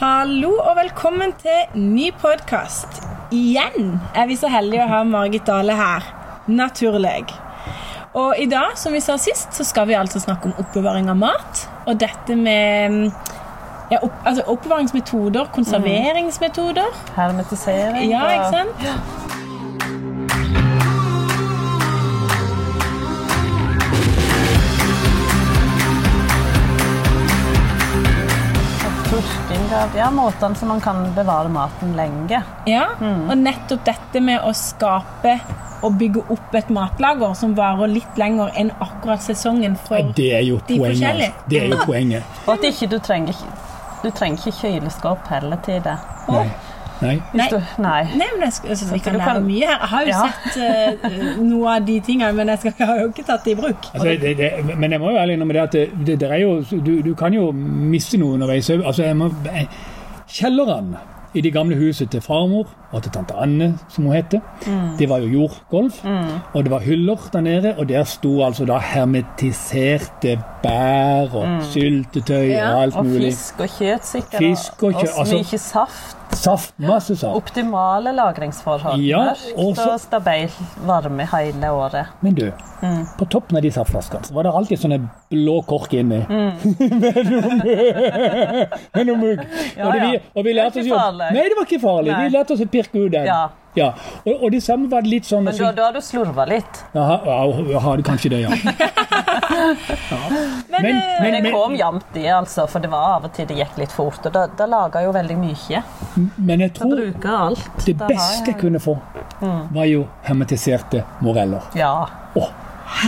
Hallo og velkommen til ny podkast. Igjen er vi så heldige å ha Margit Dale her. Naturleg. Og i dag, som vi sa sist, så skal vi altså snakke om oppbevaring av mat. Og dette med mm, ja, opp, altså oppbevaringsmetoder, konserveringsmetoder. Mm. Hermetisering. Ja, og- ikke sant? og Tørking av ja, måtene som man kan bevare maten lenge. Ja, og nettopp dette med å skape og bygge opp et matlager som varer litt lenger enn akkurat sesongen for Det er jo De forskjellige. poenget. Det er jo poenget. Og at ikke du trenger du trenger ikke kjøleskap heller til det. Nei. Nei. Hvis Nei. Du, nei. Nei, men jeg, skal- jeg synes vi kan Du lære kan- mye her. Jeg har jo Ja. sett eh, noe av de tingene, men jeg, skal, jeg har jo ikke tatt det i bruk. Altså, det, det, men jeg må jo ærlig innrømme det at det, det, det er jo, du, du kan jo miste noe underveis. Altså, jeg må, jeg- kjelleren i de gamle huset til farmor og til tante Anne, som hun heter, det var jo jordgulv. Og det var hyller der nede, og der sto altså da hermetiserte bær og syltetøy Ja, og alt Og mulig. fisk og kjøtt, sikkert. Fisk og kjøtt, Og altså- mye saft. Saft, masse saft. Optimale lagringsforhold. Ja, Mørkt og og, så- stabil varme hele året. Men du, Mm. på toppen av de saftflaskene så var det alltid sånne blå kork inni. Mm. med noe mugg. Ja, og, det, vi, ja. og vi lærte Det oss er jo ikke farlig. Nei, det var ikke farlig. Nei. Vi lærte oss å pirke ut den. Ja. Ja. Og, og det samme var det litt sånn Men da, da har du slurva litt. Jaha, ja, ja, har det kanskje det, ja. Men, Men- eh, Men det men- kom jevnt, det, altså. For det var av og til det gikk litt fort. Og da, da laga jo veldig mye. Men jeg Da tror bruker alt. det Da har beste jeg kunne få, Mm. var jo hermetiserte moreller. Ja. Åh,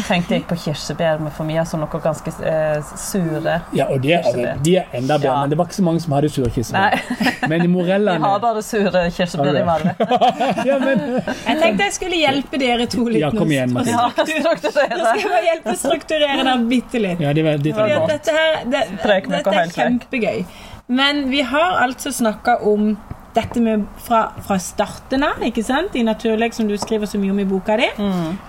Tenkte jeg på kirsebær med for mye, altså noe ganske eh, sure. ja, og det, altså, Kirsebær. de er enda bedre, Ja. men det var ikke så mange som hadde surkirsebær. Men Vi morellene har bare sure kirsebær i Valle. ja, men, jeg tenkte jeg skulle hjelpe dere to litt. Ja, kom igjen, nå. Mathilde. Ja, Nå skal jeg bare hjelpe å strukturere dere bitte litt. ja, det var, det var Fordi bra. at dette her, det, Prek meg dette og er helt prek. kjempegøy. Men vi har altså snakka om dette med fra, fra starten av, ikke sant? i naturleg som du skriver så mye om i boka di.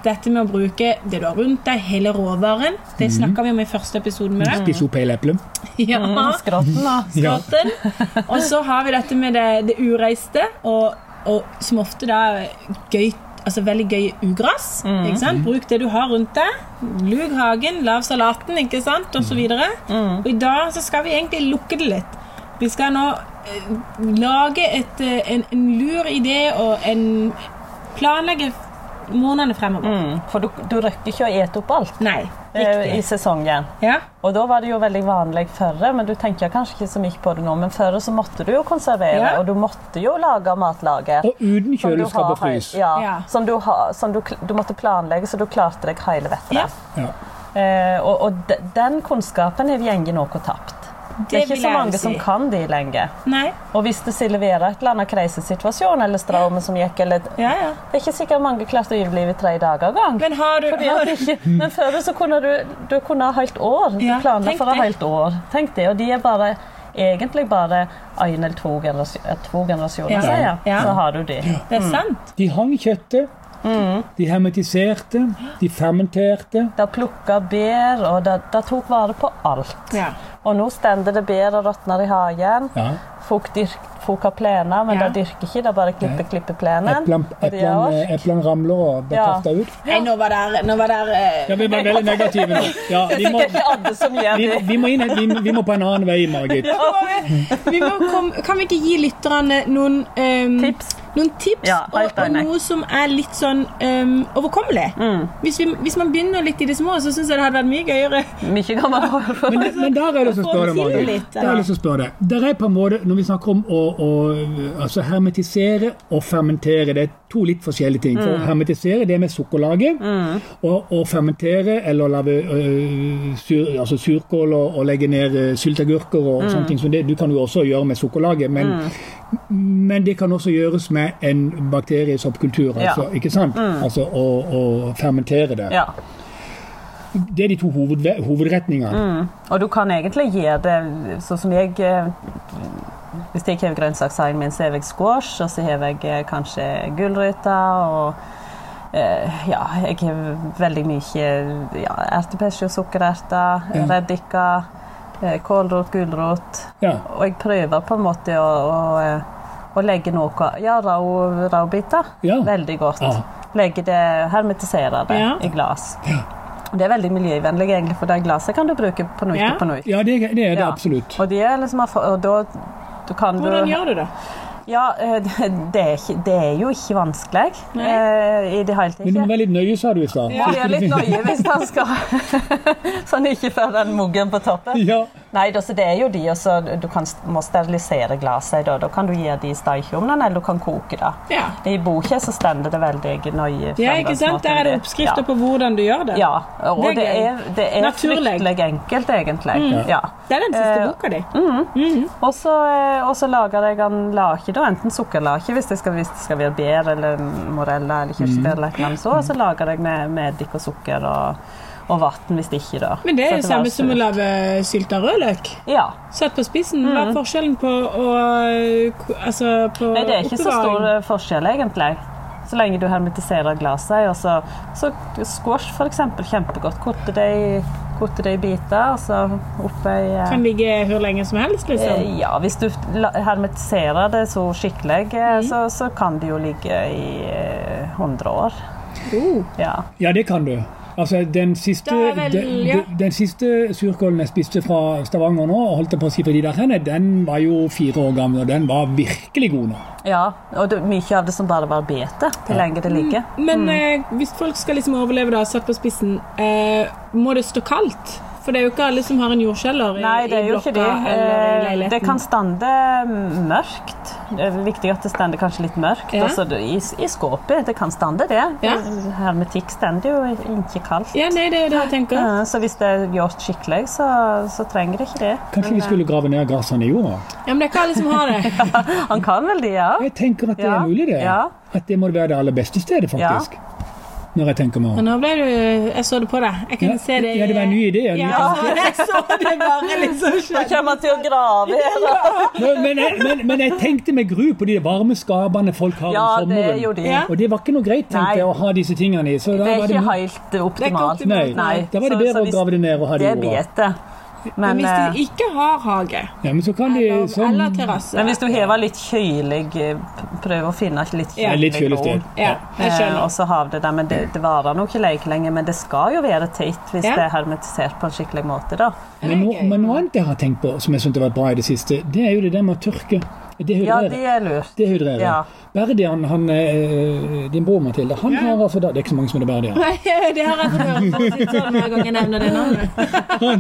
Dette med å bruke det du har rundt deg, hele råvaren. Det Mm. snakka vi om i første episoden med deg. Spise opp hele eplet. Ja. Skrotten, da. Ja. Skrotten. Og så har vi dette med det, det ureiste, og, og som ofte da er gøy, altså veldig gøy ugress. Mm. Ikke sant? Bruk det du har rundt deg. Lug hagen, lav salaten, ikke sant? Mm. Og så videre. Og i dag så skal vi egentlig lukke det litt. Vi skal nå eh, lage et, eh, en, en lur idé og en planlegge månedene fremover. Mm, for du, du rekker ikke å ete opp alt Nei. eh, i Riktig. sesongen. Ja. Og da var Mm. det jo veldig vanlig før, men du tenker kanskje ikke så mye på det nå, men før så måtte du jo konservere, Ja. og du måtte jo lage matlager. Og uten som du kjøleskap har og frys. hei- Ja, Ja. Som, du har, som du, kl- du måtte planlegge, så du klarte deg hele ja. vetteren. Ja. Eh, og og de, den kunnskapen har gjengen noe tapt. Det er vil ikke så jeg mange si. som kan de lenger. Nei. Og hvis det skulle være et eller annet krisesituasjon eller strømmen som gikk eller Ja, ja. Det er ikke sikkert mange klarte å overleve i tre dager engang. Men har du, Fordi har at du ikke- Men før så kunne du, du kunne ha helt år. Du Ja, planla tenk for et det. helt år. Tenk det. Og de er bare, egentlig bare én eller to, generas to generasjoner, Ja. sier jeg. Ja. Så har du de. Det er sant. De hang kjøttet, Mm. de hermetiserte, de fermenterte. De plukka bær, og de, de tok vare på alt. Ja. Og nå stender det bær og råtner i hagen. Ja. Folk, dyrk, folk har plener, men Ja. de dyrker ikke. De bare klipper, Nei. klipper plenen. Eplen, Og de har eplen, ork. eplen ramler og blir Ja. kastet ut. Nei, nå var der, nå var der eh, Ja, vi var veldig negative nå. Ja, Det er vi, må, sikkert ikke alle som gjør vi, det. vi, må inn, vi, vi må på en annen vei, Margit. nå må vi- vi må kom, Kan vi ikke gi lytterne noen ehm, Tips. Noen tips Ja, og, helt og enig. noe som er litt sånn ehm, overkommelig? Mm. Hvis, vi, hvis man begynner litt i det små, så syns jeg det hadde vært mye gøyere. Mye kan man høre. Men, men der er det som spør deg, Margit. Der er det som spør deg. Der er på en måte, når vi snakker om å, å altså hermetisere og fermentere, det er to litt forskjellige ting. Mm. For å hermetisere, det er med sukkerlaget. Og, og fermentere, eller lage øh, sur, altså surkål og, og legge ned øh, sylteagurker Mm. og sånne ting som det. Du kan jo også gjøre med sukkerlaget, men, Mm. men det kan også gjøres med en bakteriesoppkultur, Ja. Mm. altså, ikke sant? Altså å, å fermentere det. Ja. Det er de to hovedve- hovedretningene. Mm. Og du kan egentlig gi det sånn som jeg eh, Hvis jeg har grønnsakshagen min, så har jeg squash, og så har jeg eh, kanskje gulrøtter og eh, ja, jeg har veldig mye ja, ertepesto, sukkererter, reddiker eh, kålrot, gulrot. Ja. Og jeg prøver på en måte å, å, eh, å legge noe Ja, rau- raubiter. Ja. Veldig godt. Ja. Legge det, hermetisere det Ja. i glass. Ja. Og Det er veldig miljøvennlig, egentlig, for det glaset kan du bruke på nytt Ja. og på nytt. Ja, det, det er det Ja. absolutt. Og, de er liksom, og da du kan Hvordan du, gjør du det? Ja, eh, det er, ikke, det er jo ikke vanskelig Nei. eh, i det hele tatt. Men du må være litt nøye, sa du i stad. Må være litt nøye hvis han skal Sånn ikke får den muggen på toppen. Ja. Nei, da, så det er jo de, og så du kan, må sterilisere glasset. Da, da kan du gi det i stekeovnen, eller du kan koke det. Ja. I boka så står det veldig nøye. ja, ikke sant? Der er det oppskrifter på hvordan du gjør det. Ja, og Det er det gøy. er, det er Naturlig. Mm. fryktelig enkelt, egentlig. Ja. Det er den siste Eh, boka di. Og så, eh, og så lager jeg en lake, da, enten sukkerlake hvis det skal, hvis det skal være bær eller morella eller kirsebær, eller noe annet så, og så lager jeg med, med eddik og sukker og, og vann hvis det ikke da. Men det Så er at jo samme var som å sunt. lage sylt av rødløk. Ja. Satt på spissen, hva er forskjellen på å Altså på Mm. Nei, det er ikke så stor eh, forskjell, egentlig. Så lenge du hermetiserer glasset. Og så, så squash, for eksempel, kjempegodt. Korte det i, korte det i biter, og så oppe i eh, Kan ligge hvor lenge som helst, liksom. Eh, Ja, hvis du la- hermetiserer det så skikkelig, eh, Mhm. så, så kan det jo ligge i eh, 100 år. Oh. Ja. Ja, det kan du. Altså, den siste, Da er vel- den, ja. den siste surkålen jeg spiste fra Stavanger nå, og holdt jeg på å si fra de der henne, den var jo fire år gammel, og den var virkelig god nå. ja. Og det, mye av det som bare var bete, hvor lenge det ligger. Men eh, hvis folk skal liksom overleve det, satt på spissen, eh, må det stå kaldt? For det er jo ikke alle som har en jordkjeller i, Nei, det er i jo blokka ikke det. eller i Eh, leiligheten. Det kan stande mørkt. Det er viktig at det stander kanskje litt mørkt. Ja. Altså, det- i, I skåpet. Det kan stande det. Ja. Hermetikk stander jo ikke kaldt. Ja, nei, det er det jeg tenker. Eh, Så hvis det er gjort skikkelig, så, så trenger det ikke det. Kanskje Men, vi skulle grave ned grassene i jorda? Ja, Men det er ikke alle som har det. eh, Han kan vel det, ja. Jeg tenker at det Ja, er mulig, det. ja. At det må være det aller beste stedet, faktisk. Når jeg tenker meg Men om. nå ble du Jeg så det på deg. Jeg kunne Ja, se det i- ja, det var en ny idé, ja, Ja, en ny jeg så det bare liksom Da skjønner. kommer han til å grave. Eller? Men, men, jeg, men, men jeg tenkte med gru på de varme skapene folk har Ja, om det er jo sommeren. det. Ja. Og det var ikke noe greit, Nei. tenkte jeg, å ha disse tingene i. Så da Det er var det ikke mu- helt optimalt. Det er ikke optimalt. Nei. Da var det Så- bedre så å hvis- grave det ned og ha det Det i er jorda. bete. Men, Men hvis eh, de ikke har hage Ja, men så kan de eller, sånn eller terrasse men hvis du hever litt kjølig eh, Prøv å finne et litt Ja, kjølig Litt kjølig sted. Ja, jeg Eh, og skjønner. så har det der, men det, det varer nok ikke like lenge, men det skal jo være teit hvis Ja. det er hermetisert på en skikkelig måte, da. Men, no, Det er gøy. men noe annet jeg har tenkt på som jeg synes har vært bra i det siste, det er jo det der med å tørke. Ja, Dehydrere. det er lurt. Dehydrere. Ja. Berdian, han, eh, din bror Mathilde, han har altså da, Det er ikke så mange som heter Berdian. Nei, det har jeg fått høre for å si det sånn hver gang jeg nevner det navnet.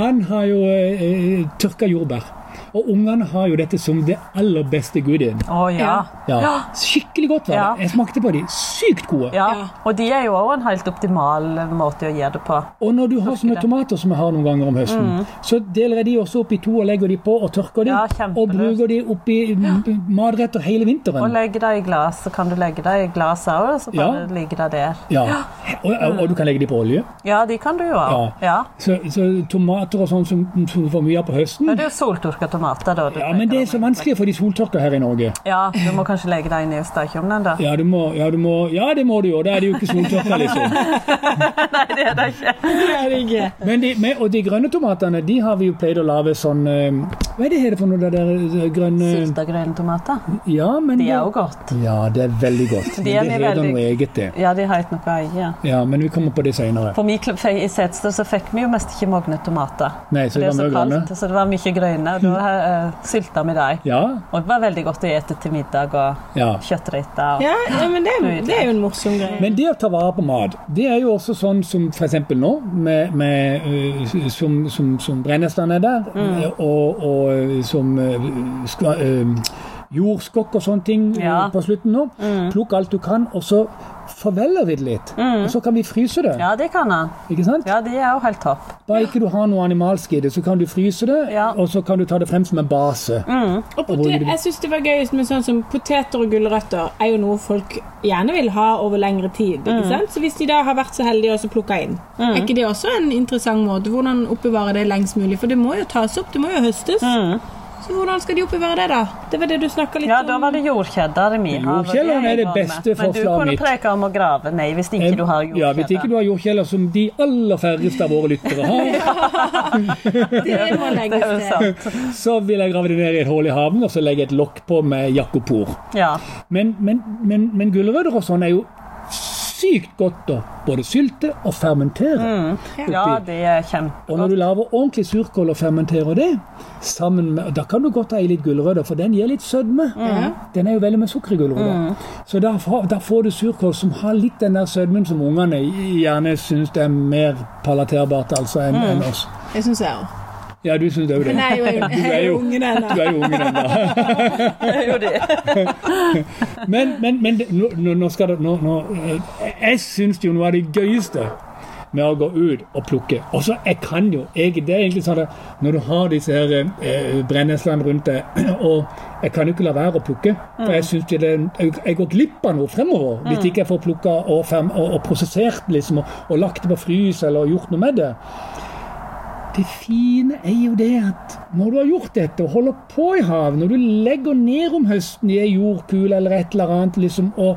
Han har jo eh, eh, tørka jordbær. Og ungene har jo dette som det aller beste goodien. Å ja. Ja. Skikkelig godt var det. Ja. Jeg smakte på de. Sykt gode. ja. Ja. Og de er jo òg en helt optimal måte å gjøre det på. Og når du har sånne tomater som jeg har noen ganger om høsten, så deler jeg de også opp i to og legger de på og tørker Mm. de. Ja, og kjempelurt. bruker de oppi mm, matretter hele vinteren. Og legge det i glass, så kan du legge det i glass òg, så kan Ja. det ligge det der. Ja. Og, og, og du kan legge de på olje. Ja, de kan du jo òg. Ja. Ja. Så, så tomater og sånn som, som du får mye av på høsten Men det er jo soltørka tomater, da. du Ja, men tenker det er om, så ikke? vanskelig for de soltørker her i Norge. Ja, du må kanskje legge deg ned i stekeovnen, da. Ja, du må, ja, du må, ja det må du jo. Da er det jo ikke soltørker, liksom. Nei, det er det ikke. Det er det ikke. Men de, med, og de grønne tomatene de har vi jo pleid å lage sånn eh, Hva er det heter for noe det der eh, grønne Sylta grønne tomater. Ja, men De er jo godt. Ja, det er veldig godt. De er Men det mye heter veldig- noe eget, det. Ja, de har ikke noe eie. Ja, men vi kommer på det senere. På min klubb fe- i Setesdal så fikk vi jo mest ikke mogne tomater. Nei, så For det er var mye grønne. så det var mye grønne. Og da eh, sylta vi dem. Ja, Og det var veldig godt å ete til middag og ja. kjøttretter. Ja, ja, men det, er- det er jo en morsom greie. Men det å ta vare på mat, det er jo også sånn som f.eks. nå, med, med, eh, som, som, som brenneslene er der, Mm. og, og eh, som eh, skva- eh, jordskokk og sånne ting eh, Ja. Mm. på slutten nå. Plukk alt du kan, og så forveller vi det litt. Og så kan vi fryse det. Ja, det kan han. Ikke sant? Ja, de er jo helt topp. Bare ikke du har noe animalsk i det, så kan du fryse det, Ja. Mm. og så kan du ta det frem som en base. Og potet, jeg synes det var gøyest med sånn som Poteter og gulrøtter er jo noe folk gjerne vil ha over lengre tid. ikke Mm. sant? Så Hvis de da har vært så heldige og så plukka inn, er ikke det også en interessant måte? Hvordan oppbevare det lengst mulig? For det må jo tas opp, det må jo høstes. Så hvordan skal de oppbevare det, da? Det var det du snakka litt Mm. Ja, da var det jordkjeller vi Men jordkjeller er det beste Men du forslaget kunne mitt. preke om å grave, nei, hvis ikke du har Ja, hvis ikke jordkjeller. du har jordkjeller som de aller færreste av våre lyttere har, Det må Det er legges jo sånn. til. sant. så vil jeg grave det ned i et hull i havnen og så legge et lokk på med jakopor. Ja. Men, men, men, men gulrøtter og sånn er jo sykt godt å både sylte og Mm. fermentere. ja, det er Og når kjempegodt. du lager ordentlig surkål og fermenterer det, sammen med, da kan du godt ha i litt gulrøtter, for den gir litt sødme. Mm. Mm. Den er jo veldig med sukker i gulrøtter. Så da, får- da får du surkål som har litt den der sødmen som ungene gjerne syns er mer palaterbart altså, enn enn oss. Det syns jeg òg. Ja, du syns òg Men det. jeg er jo, jeg er jo ungen ennå. Du er jo ungen ennå. Det er jo det. Men, men, men det- nå, nå- nå skal det nå, nå, eh, Jeg syns jo noe av det gøyeste med å gå ut og plukke Og så jeg kan jo jeg, Det er egentlig sånn at når du har disse her eh, brenneslene rundt deg, og jeg kan jo ikke la være å plukke For jeg syns det er- jeg, jeg går glipp av noe fremover hvis ikke jeg får plukka og, ferm- og, og prosessert liksom, og, og lagt det på frys eller gjort noe med det. Det fine er jo det at når du har gjort dette og holder på i havet, når du legger ned om høsten i ei jordkule eller et eller annet, liksom, og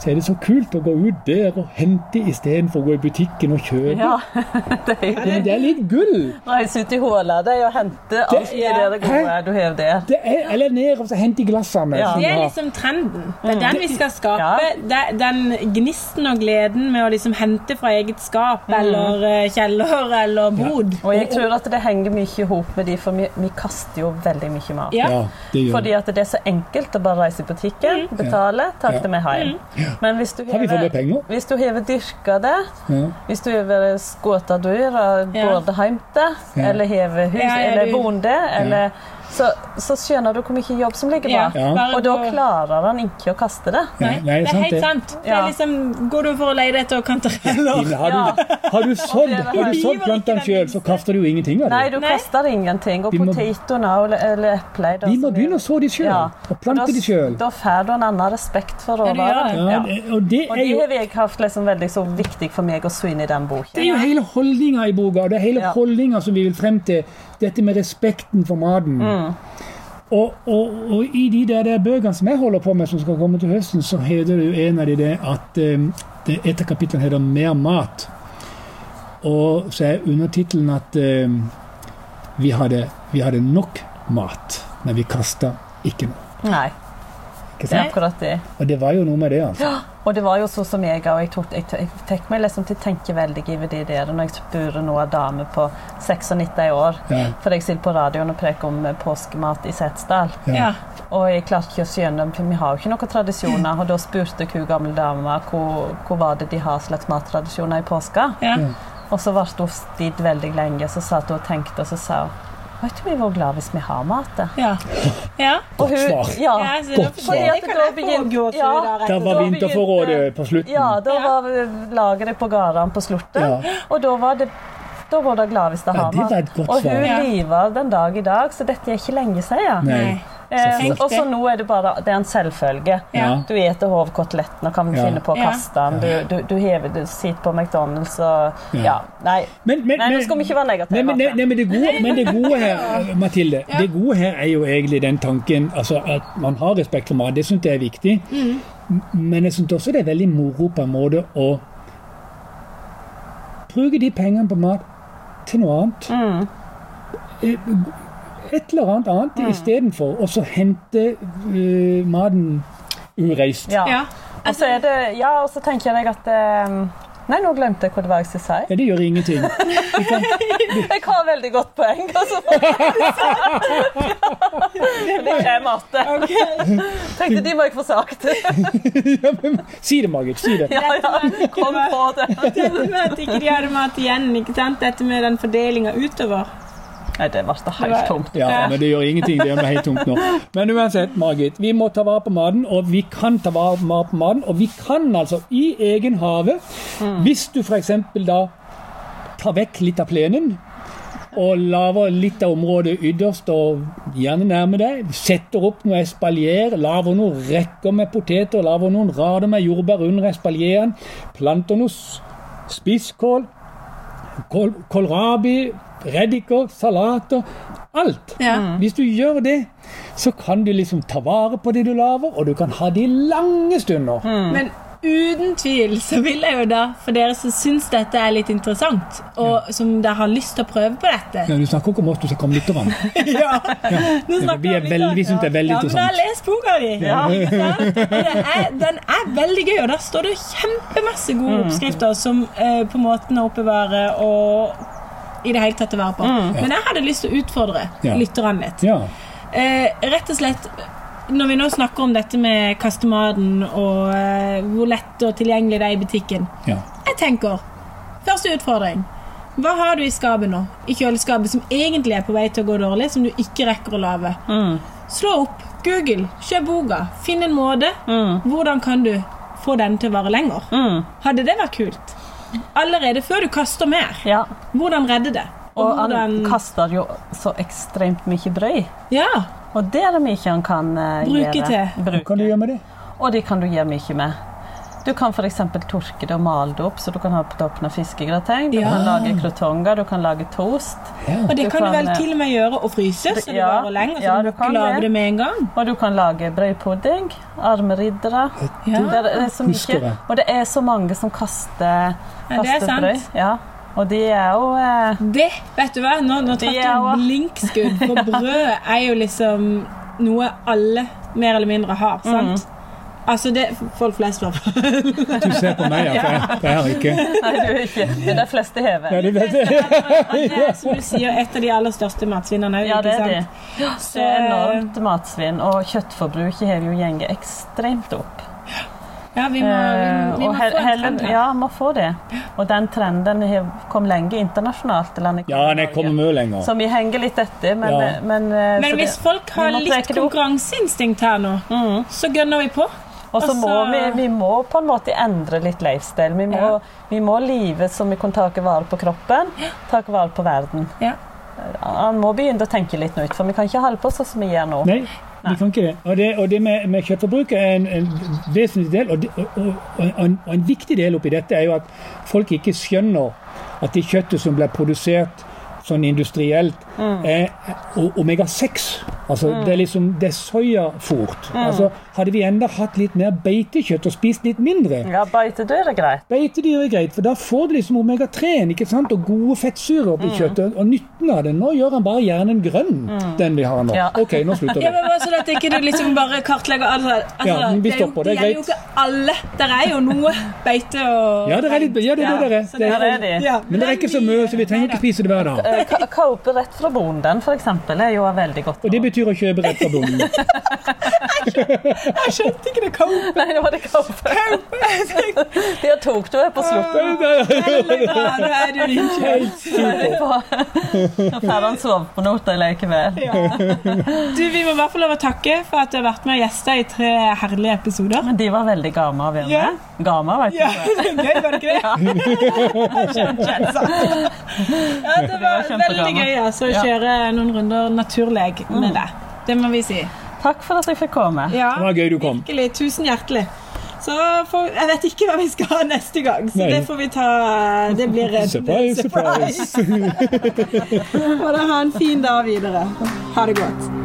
så er det så kult å gå ut der og hente istedenfor å gå i butikken og kjøpe. Ja, det er jo Det, det er litt gull. Reise ut i håla di og hente alt det der det gode du har der. Det er, eller ned og så hente i glassene. Ja. Mm. som Det du er har. liksom trenden. Det er den vi skal skape. Det- Den gnisten og gleden med å liksom hente fra eget skap Mm. eller eh, kjeller eller bod. Og jeg tror at det henger mye i hop med de, for vi, vi kaster jo veldig mye mat. Ja. ja, det gjør Fordi det. at det er så enkelt å bare reise i butikken, Mm. betale, takk Ja. til meg hjem. Men hvis du Har vi fått hever- med penger? Hvis du hever dyrka det, Ja. hvis du hever skåta dyr og Ja. både heim det, Ja. eller hever hus, Ja, ja, eller du- bonde, eller så, så skjønner du hvor mye jobb som ligger Ja, bak. Ja. bare Og da gå- klarer han ikke å kaste det. Nei, Nei, nei, det er sant helt det. sant. Det Ja. er liksom, Går du for å leie etter kantareller? Har du, har du sådd, har du sådd plantene sjøl, så kaster du jo ingenting av Nei, det. du Nei. kaster ingenting. Og Vi må- potetene og eller epler Vi må begynne å så de sjøl, og plante de sjøl. Da får du en annen respekt for Ja, du gjør råvarene. det. Ja, det- og det Og er det jo har jeg hatt liksom veldig så viktig for meg å sy inn i den Det boken. er jo hele holdninga i boka, og det er hele Ja. holdninga som vi vil frem til. Dette med respekten for maten. Mm. Og, og, og i de der, der bøkene som jeg holder på med, som skal komme til høsten, så heter det jo en av de det at eh, det, et av kapitlene heter 'Mer mat'. Og så er undertittelen at eh, vi, hadde, vi hadde nok mat, men vi kasta ikke noe. Nei, Ikke det er sant? akkurat det. Og det var jo noe med det, altså. Og det var jo så som jeg og jeg, tok, jeg, jeg fikk meg liksom til å tenke veldig over det der når jeg spør noen damer på 96 år. Ja. For jeg sitter på radioen og preker om eh, påskemat i Setesdal. Ja. Og jeg klarte ikke å skjønne, for vi har jo ikke noen tradisjoner. Og da spurte jeg hun gamle dama hvor, hvor var det de har slags mattradisjoner i påska. Ja. Og så ble hun stilt veldig lenge, så satt hun og tenkte, og så sa hun Vet du vi var glad hvis vi har mat? da?» Ja. ja. Og hun, svar. Ja, Ja, så godt da- svar. det kan Da jeg få begynte- gåsehud ja. av, rett Der og var Da slett. vinterforrådet på slutten. ja, da var lageret på gårdene på slutten, Ja. og da var det da var det glad hvis det Ja, har det var mat. et godt Og hun svar. Ja. lever den dag i dag, så dette er ikke lenge siden. Nei. Nei. Eh, flott. og så nå er det bare det er en selvfølge. Ja. Du spiser hovkoteletten og kan Ja. finne på å Ja. kaste den. Du, du, du, hever, du sitter på McDonald's og Ja. Ja. Nei, Men, men, nei nå men- skal vi ikke være Nei, negative. men, nei, nei, men, det gode, men det gode her, Mathilde, det gode her er jo egentlig den tanken altså at man har respekt for mat. Det syns jeg er viktig. Men jeg syns også det er veldig moro på en måte å bruke de pengene på mat til noe annet. Mm. Eh, Et eller annet annet Mm. istedenfor. Og så hente eh, maten ureist. Ja. Ja. Og så Altså, er det Ja, og så tenker jeg at eh, Nei, nå glemte jeg hva det var jeg skulle si. Ja, det gjør ingenting. Jeg har veldig godt poeng. Altså. Det er matte. Tenkte de må jeg få sagt. Ja, men- si det, Margit. Si det. Ja, ja. Kom på det. Dette med at ikke de hadde mat igjen, ikke sant? Dette med den fordelinga utover. Nei, det ble helt tomt. Ja, men det gjør ingenting. Det er helt tomt nå. Men uansett, Margit, vi må ta vare på maten, og vi kan ta vare på mat- maten. Og vi kan altså i egen hage, hvis du f.eks. da tar vekk litt av plenen og lager litt av området ytterst, og gjerne nærme deg. Setter opp noe espalier, lager noen rekker med poteter, lager noen rader med jordbær under espalieren. Planter noe s- spisskål, kål, kålrabi, reddiker, salater Alt. Ja. Hvis du gjør det, så kan du liksom ta vare på det du lager, og du kan ha det i lange stunder. Men uten tvil så vil jeg jo da, for dere som syns dette er litt interessant, og som dere har lyst til å prøve på dette Ja, du snakker ikke om oss, du snakker om lytterne. ja. Nå Ja, snakker vi er litt veldig- om- vi synes det er veldig ja, interessant. Ja, men jeg har lest boka di. Ja. ikke sant? Og det er- Den er veldig gøy, og der står det kjempemasse Mm. gode oppskrifter som eh, på måten å oppbevare og i det hele tatt å være på. Men jeg hadde lyst til å utfordre Mm. Ja. lytterne litt. Ja. Eh, rett og slett Når vi nå snakker om dette med kastematen og eh, hvor lett og tilgjengelig det er i butikken ja. Jeg tenker Første utfordring. Hva har du i skapet nå? I kjøleskapet som egentlig er på vei til å gå dårlig, som du ikke rekker å lage. Mm, Slå opp, Google, kjøp boka. Finn en måte. mm, Hvordan kan du få den til å vare lenger? Hadde det vært kult? Allerede før du kaster mer. Ja. Hvordan redde det? Og han hvordan- kaster jo så ekstremt mye brød. Ja, Og det er det mye han kan eh, Bruke gjøre. til. Hva kan du gjøre med det? Og det kan du gjøre mye med. Du kan f.eks. tørke det og male det opp, så du kan ha på toppen av fiskegrateng. Du Ja. kan lage krotonger, du kan lage toast. Ja. Og det Du kan du kan, vel eh, til og med gjøre og fryse, så det Ja, varer lenger. Så ja, du du ikke kan lage det. det med en gang. Og du kan lage brødpudding. Armriddere. Ja. Det er- det er så Husker mye. det. Og det er så mange som kaster, Ja, det er kaster sant. brød. Ja. Og de er jo eh, Det, vet du hva, nå, nå traff Det du er også- blinkskudd, for brød er jo liksom noe alle mer eller mindre har, sant? Altså, det folk flest har Du ser på meg, ja. For jeg, for jeg har ikke Nei, du er ikke. Det er de fleste ja, hever. det, det, det. Det er, som du sier, et av de aller største matsvinnerne. Ja, det ikke er de. sant? eh, Så enormt matsvinn, og kjøttforbruket har jo gjenget ekstremt opp. Ja, vi må, vi, Eh, må- vi og må he- få en heller- trend her. Ja, må få det. Og den trenden har kom lenge internasjonalt. til landet. Ja, nei, jeg kommer mye lenger. Så vi henger litt etter, men, Ja. men, eh, så Men det- hvis folk har vi må litt trekke det opp. konkurranseinstinkt her nå, så gønner vi på. Og så må altså- vi, vi må på en måte endre litt lifestyle. Vi må, Ja. vi må live som vi kan ta vare på kroppen, ta vare på verden. Eh, Ja. Han må begynne å tenke litt nytt, for vi kan ikke holde på sånn som vi gjør nå. Nei, vi kan ikke det. Og det, og det med, med kjøttforbruket er en, en vesentlig del, og, det- og, og, og, en, og en viktig del oppi dette er jo at folk ikke skjønner at det kjøttet som blir produsert sånn industrielt, er o- omega-6. Altså, Det er liksom, det er soyafôrt. Altså, hadde vi enda hatt litt mer beitekjøtt og spist litt mindre, Ja, Beitedyr er greit. Beitedyr er greit, for da får du liksom omega-3-en ikke sant? og gode fettsyrer oppi kjøttet. Og nytten av det. Nå gjør han bare hjernen grønn, den vi har nå. Ja. Ok, nå slutter Ja, vi. men bare sånn at ikke du liksom bare kartlegger alle altså, Ja, men vi stopper, det er gjelder jo greit. ikke alle. Der er jo noe beite og Ja, det er litt, ja, det er det der er. Så Det Ja, er. det er de. Ja, Men det er ikke så mye, så vi trenger ikke spise det hver dag. Eh, ka- Kaupe rett fra bonden, for eksempel, er jo veldig godt. Og det betyr å kjøpe rett fra bonden. Jeg skjønte ikke det kom. Nei, nå var det kaupe. Det tok du her på slutten. Veldig bra, nå er du innkjørt. Nå får han sove på nota likevel. Du, vi må i hvert fall lov å takke for at du har vært med og gjesta i tre herlige episoder. Men de var veldig gama å være Ja. med. Gama, vet du. Ja, det var gøy, var det ikke det? Ja, det var Det var veldig kjempegøy. gøy altså, å Ja. kjøre noen runder naturleg med deg. Det må vi si. Takk for at jeg fikk komme. Ja, Det var gøy du kom. virkelig. Tusen hjertelig. Så får, jeg vet ikke hva vi skal ha neste gang, så Nei. det får vi ta Det blir en Surprise, surprise. Må dere ha en fin dag videre. Ha det godt.